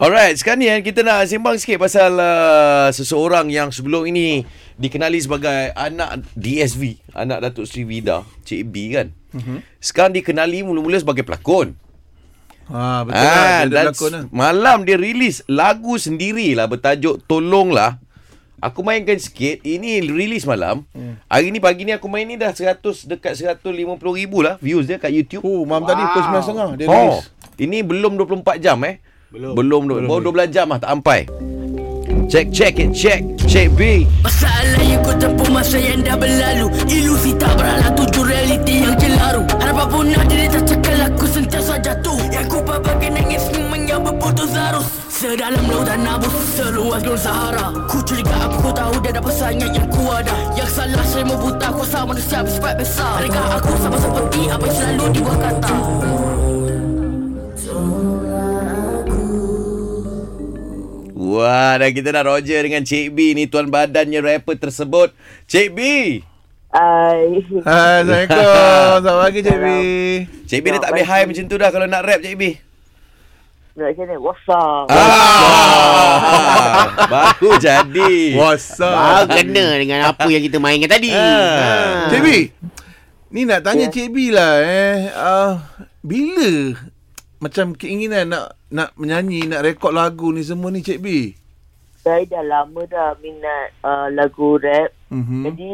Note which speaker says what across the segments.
Speaker 1: Alright, sekarang ni eh, kita nak sembang sikit pasal uh, seseorang yang sebelum ini dikenali sebagai anak DSV, anak Datuk Sri Vida, Cik B kan.
Speaker 2: Mhm.
Speaker 1: Mm-hmm. Sekarang dikenali mula-mula sebagai pelakon.
Speaker 2: Ha, betul ah, lah. Dia
Speaker 1: dan
Speaker 2: berlakon lah.
Speaker 1: Malam dia rilis lagu sendirilah bertajuk Tolonglah. Aku mainkan sikit. Ini rilis malam. Hmm. Hari ni pagi ni aku main ni dah 100 dekat 150 ribu lah views dia kat YouTube.
Speaker 3: Oh, mam wow. tadi pukul
Speaker 2: Ah,
Speaker 3: 9.30 dia
Speaker 1: oh,
Speaker 3: rilis.
Speaker 1: ini belum 24 jam eh. Belum. Belum, belum baru 12 jam lah tak sampai. Check check it check check B.
Speaker 4: Masalah yang kau tempuh masa yang dah berlalu Ilusi tak beranak tuju realiti yang celaru Harapan punah diri tercekal aku sentiasa jatuh Yang ku paparkan nangis semuanya berputus arus Sedalam lautan nabus seluas gurun Sahara Ku curiga aku tahu dia ada pesannya yang ku ada Yang salah saya membuta kuasa manusia bersifat besar Adakah aku sama seperti apa yang selalu dibuat kata
Speaker 1: Wah, dan kita nak Roger dengan Cik B ni tuan badannya rapper tersebut. Cik B.
Speaker 5: Hai.
Speaker 2: Hai, Assalamualaikum. Selamat pagi, Cik B.
Speaker 1: Cik B dia tak boleh high macam tu dah kalau nak rap Cik B.
Speaker 5: Macam ni, what's up?
Speaker 1: Ah, baru jadi.
Speaker 2: What's
Speaker 6: Ah,
Speaker 2: up?
Speaker 6: kena dengan apa yang kita mainkan tadi.
Speaker 1: Ah.
Speaker 6: Ah.
Speaker 2: Cik B. Ni nak tanya
Speaker 1: Ya.
Speaker 2: Cik B lah eh. Uh, bila macam keinginan nak nak menyanyi, nak rekod lagu ni semua ni Cik B?
Speaker 5: Saya dah lama dah minat uh, lagu rap.
Speaker 2: Mhm.
Speaker 5: Jadi,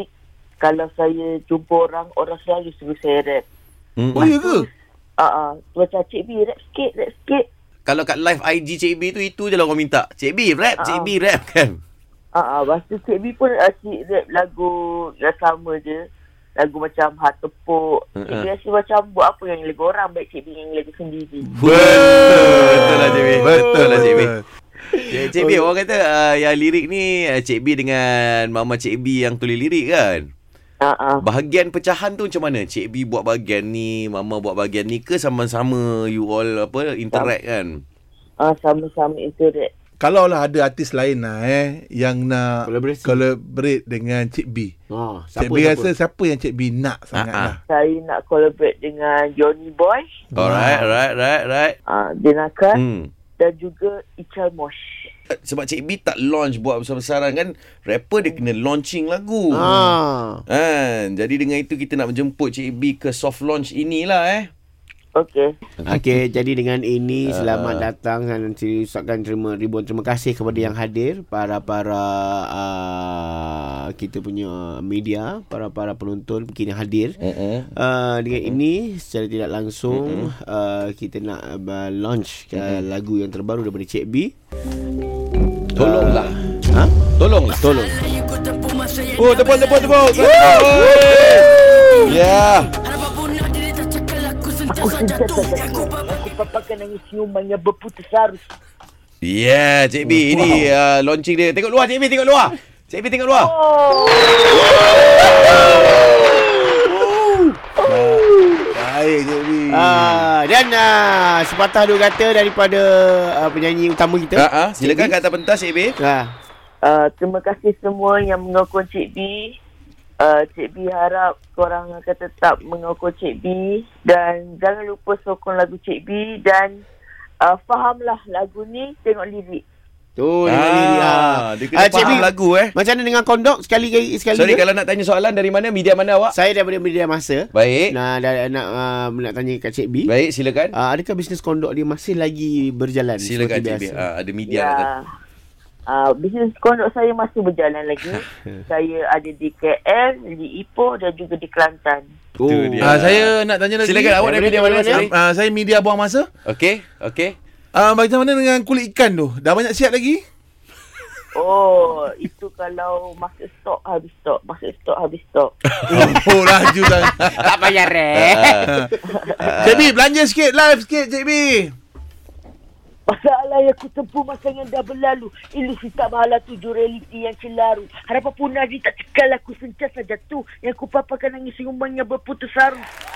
Speaker 5: kalau saya jumpa orang, orang selalu suruh saya rap.
Speaker 1: Hmm.
Speaker 2: Oh, ya ke?
Speaker 5: Ah, uh, macam Cik B rap sikit, rap sikit.
Speaker 1: Kalau kat live IG Cik B tu itu je lah orang minta. Cik B rap, Cik B rap kan.
Speaker 5: Ah, uh, lepas tu Cik B pun asyik rap lagu yang sama je. Lagu macam Hak Tepuk. Cik B
Speaker 1: Mm-mm.
Speaker 5: asyik macam buat apa yang lagu orang. Baik Cik B yang lagu sendiri.
Speaker 1: Betul, betul lah Cik B. Betul lah Cik B.
Speaker 2: Betul.
Speaker 1: Cik, Ya, Cik B orang kata uh, yang lirik ni uh, Cik B dengan Mama Cik B yang tulis lirik kan.
Speaker 5: Ah, ah.
Speaker 1: Bahagian pecahan tu macam mana? Cik B buat bahagian ni, Mama buat bahagian ni ke sama-sama you all apa interact kan?
Speaker 5: Ah, sama-sama interact.
Speaker 2: Kalau lah ada artis lain lah eh yang nak
Speaker 6: Collaborate.
Speaker 2: collaborate dengan Cik B.
Speaker 6: Ah,
Speaker 2: Cik
Speaker 6: siapa,
Speaker 2: B
Speaker 6: siapa?
Speaker 2: rasa siapa yang Cik B nak sangat
Speaker 1: ah.
Speaker 2: lah.
Speaker 5: Saya nak collaborate dengan Johnny Boy.
Speaker 1: Alright, alright, right, right.
Speaker 5: Ah, Dinakan.
Speaker 1: Hmm.
Speaker 5: Dan juga Ichal Mosh.
Speaker 1: Sebab Cik B tak launch buat besar-besaran kan Rapper dia kena launching lagu
Speaker 6: Ah.
Speaker 1: Kan? Jadi dengan itu kita nak menjemput Cik B ke soft launch inilah eh
Speaker 5: Okey.
Speaker 1: Hmm.
Speaker 6: Okey, jadi dengan ini
Speaker 1: Ah.
Speaker 6: selamat datang dan ucapkan terima ribuan terima kasih kepada yang hadir, para-para uh, kita punya media, para-para penonton mungkin yang hadir.
Speaker 1: Mm-mm.
Speaker 6: Uh, dengan ini secara tidak langsung uh, kita nak uh, launch uh, lagu yang terbaru daripada Cik B.
Speaker 1: Tolonglah
Speaker 6: Ha?
Speaker 1: Tolonglah Tolong
Speaker 4: Masalah yang kau tempuh masa yang
Speaker 1: Oh
Speaker 4: dah
Speaker 1: tepuk tepuk
Speaker 4: berlalu.
Speaker 1: tepuk Yeah
Speaker 4: Harapan punah diri tercekal aku
Speaker 5: Aku
Speaker 4: sentiasa
Speaker 5: sentiasa
Speaker 4: jatuh
Speaker 5: jatuh.
Speaker 4: Yang ku paparkan
Speaker 5: Aku paparkan nangis siuman yang berputus arus.
Speaker 1: Yeah Ya, Cik B Ini uh, launching dia Tengok luar Cik B tengok luar Cik B tengok luar
Speaker 5: Oh,
Speaker 2: Baik Cik B.
Speaker 1: Mm.
Speaker 6: Ah, dan ah, sepatah dua kata daripada ah, penyanyi utama kita.
Speaker 1: Ha ah, silakan kata pentas Cik B.
Speaker 6: Ah.
Speaker 5: uh, terima kasih semua yang mengokong Cik B. Uh, Cik B harap korang akan tetap mengokong Cik B. Dan jangan lupa sokong lagu Cik B. Dan uh, fahamlah lagu ni, tengok lirik.
Speaker 6: Tu dengan diri, ah.
Speaker 1: Dia kena
Speaker 6: Ah, Cik
Speaker 1: faham
Speaker 6: B,
Speaker 1: lagu eh.
Speaker 6: Macam mana dengan kondok sekali sekali
Speaker 1: Sorry
Speaker 6: dia?
Speaker 1: kalau nak tanya soalan dari mana media mana awak?
Speaker 6: Saya daripada media masa.
Speaker 1: Baik.
Speaker 6: Nah, dah, nak ah, nak tanya kat Cik B.
Speaker 1: Baik silakan.
Speaker 6: Ah, adakah bisnes kondok dia masih lagi berjalan
Speaker 1: Silakan Cik B.
Speaker 6: seperti biasa?
Speaker 1: Ah, ada
Speaker 6: Ya,
Speaker 5: Ya.
Speaker 1: media nak tanya.
Speaker 5: Uh, bisnes kondok saya masih berjalan lagi. saya ada di KL, di Ipoh dan juga di Kelantan.
Speaker 1: Tu
Speaker 6: Oh.
Speaker 1: dia.
Speaker 2: Ah, saya nak tanya lagi.
Speaker 1: Silakan awak dari media mana? Sorry.
Speaker 2: Ah, saya media buang masa.
Speaker 1: Okey, okey.
Speaker 2: Ah, bagaimana dengan kulit ikan tu? Dah banyak siap lagi?
Speaker 5: Oh, itu kalau masuk stok habis stok, masuk stok habis stok.
Speaker 2: Oh, laju sangat.
Speaker 6: tak payah reh.
Speaker 2: Cik B, belanja sikit. Live sikit, Cik B.
Speaker 5: Masalah yang aku tempuh masa yang dah berlalu Ilusi tak mahala tuju realiti yang celaru Harapan punah diri tak cekal aku sentiasa jatuh Yang ku paparkan nangis siuman yang berputus arus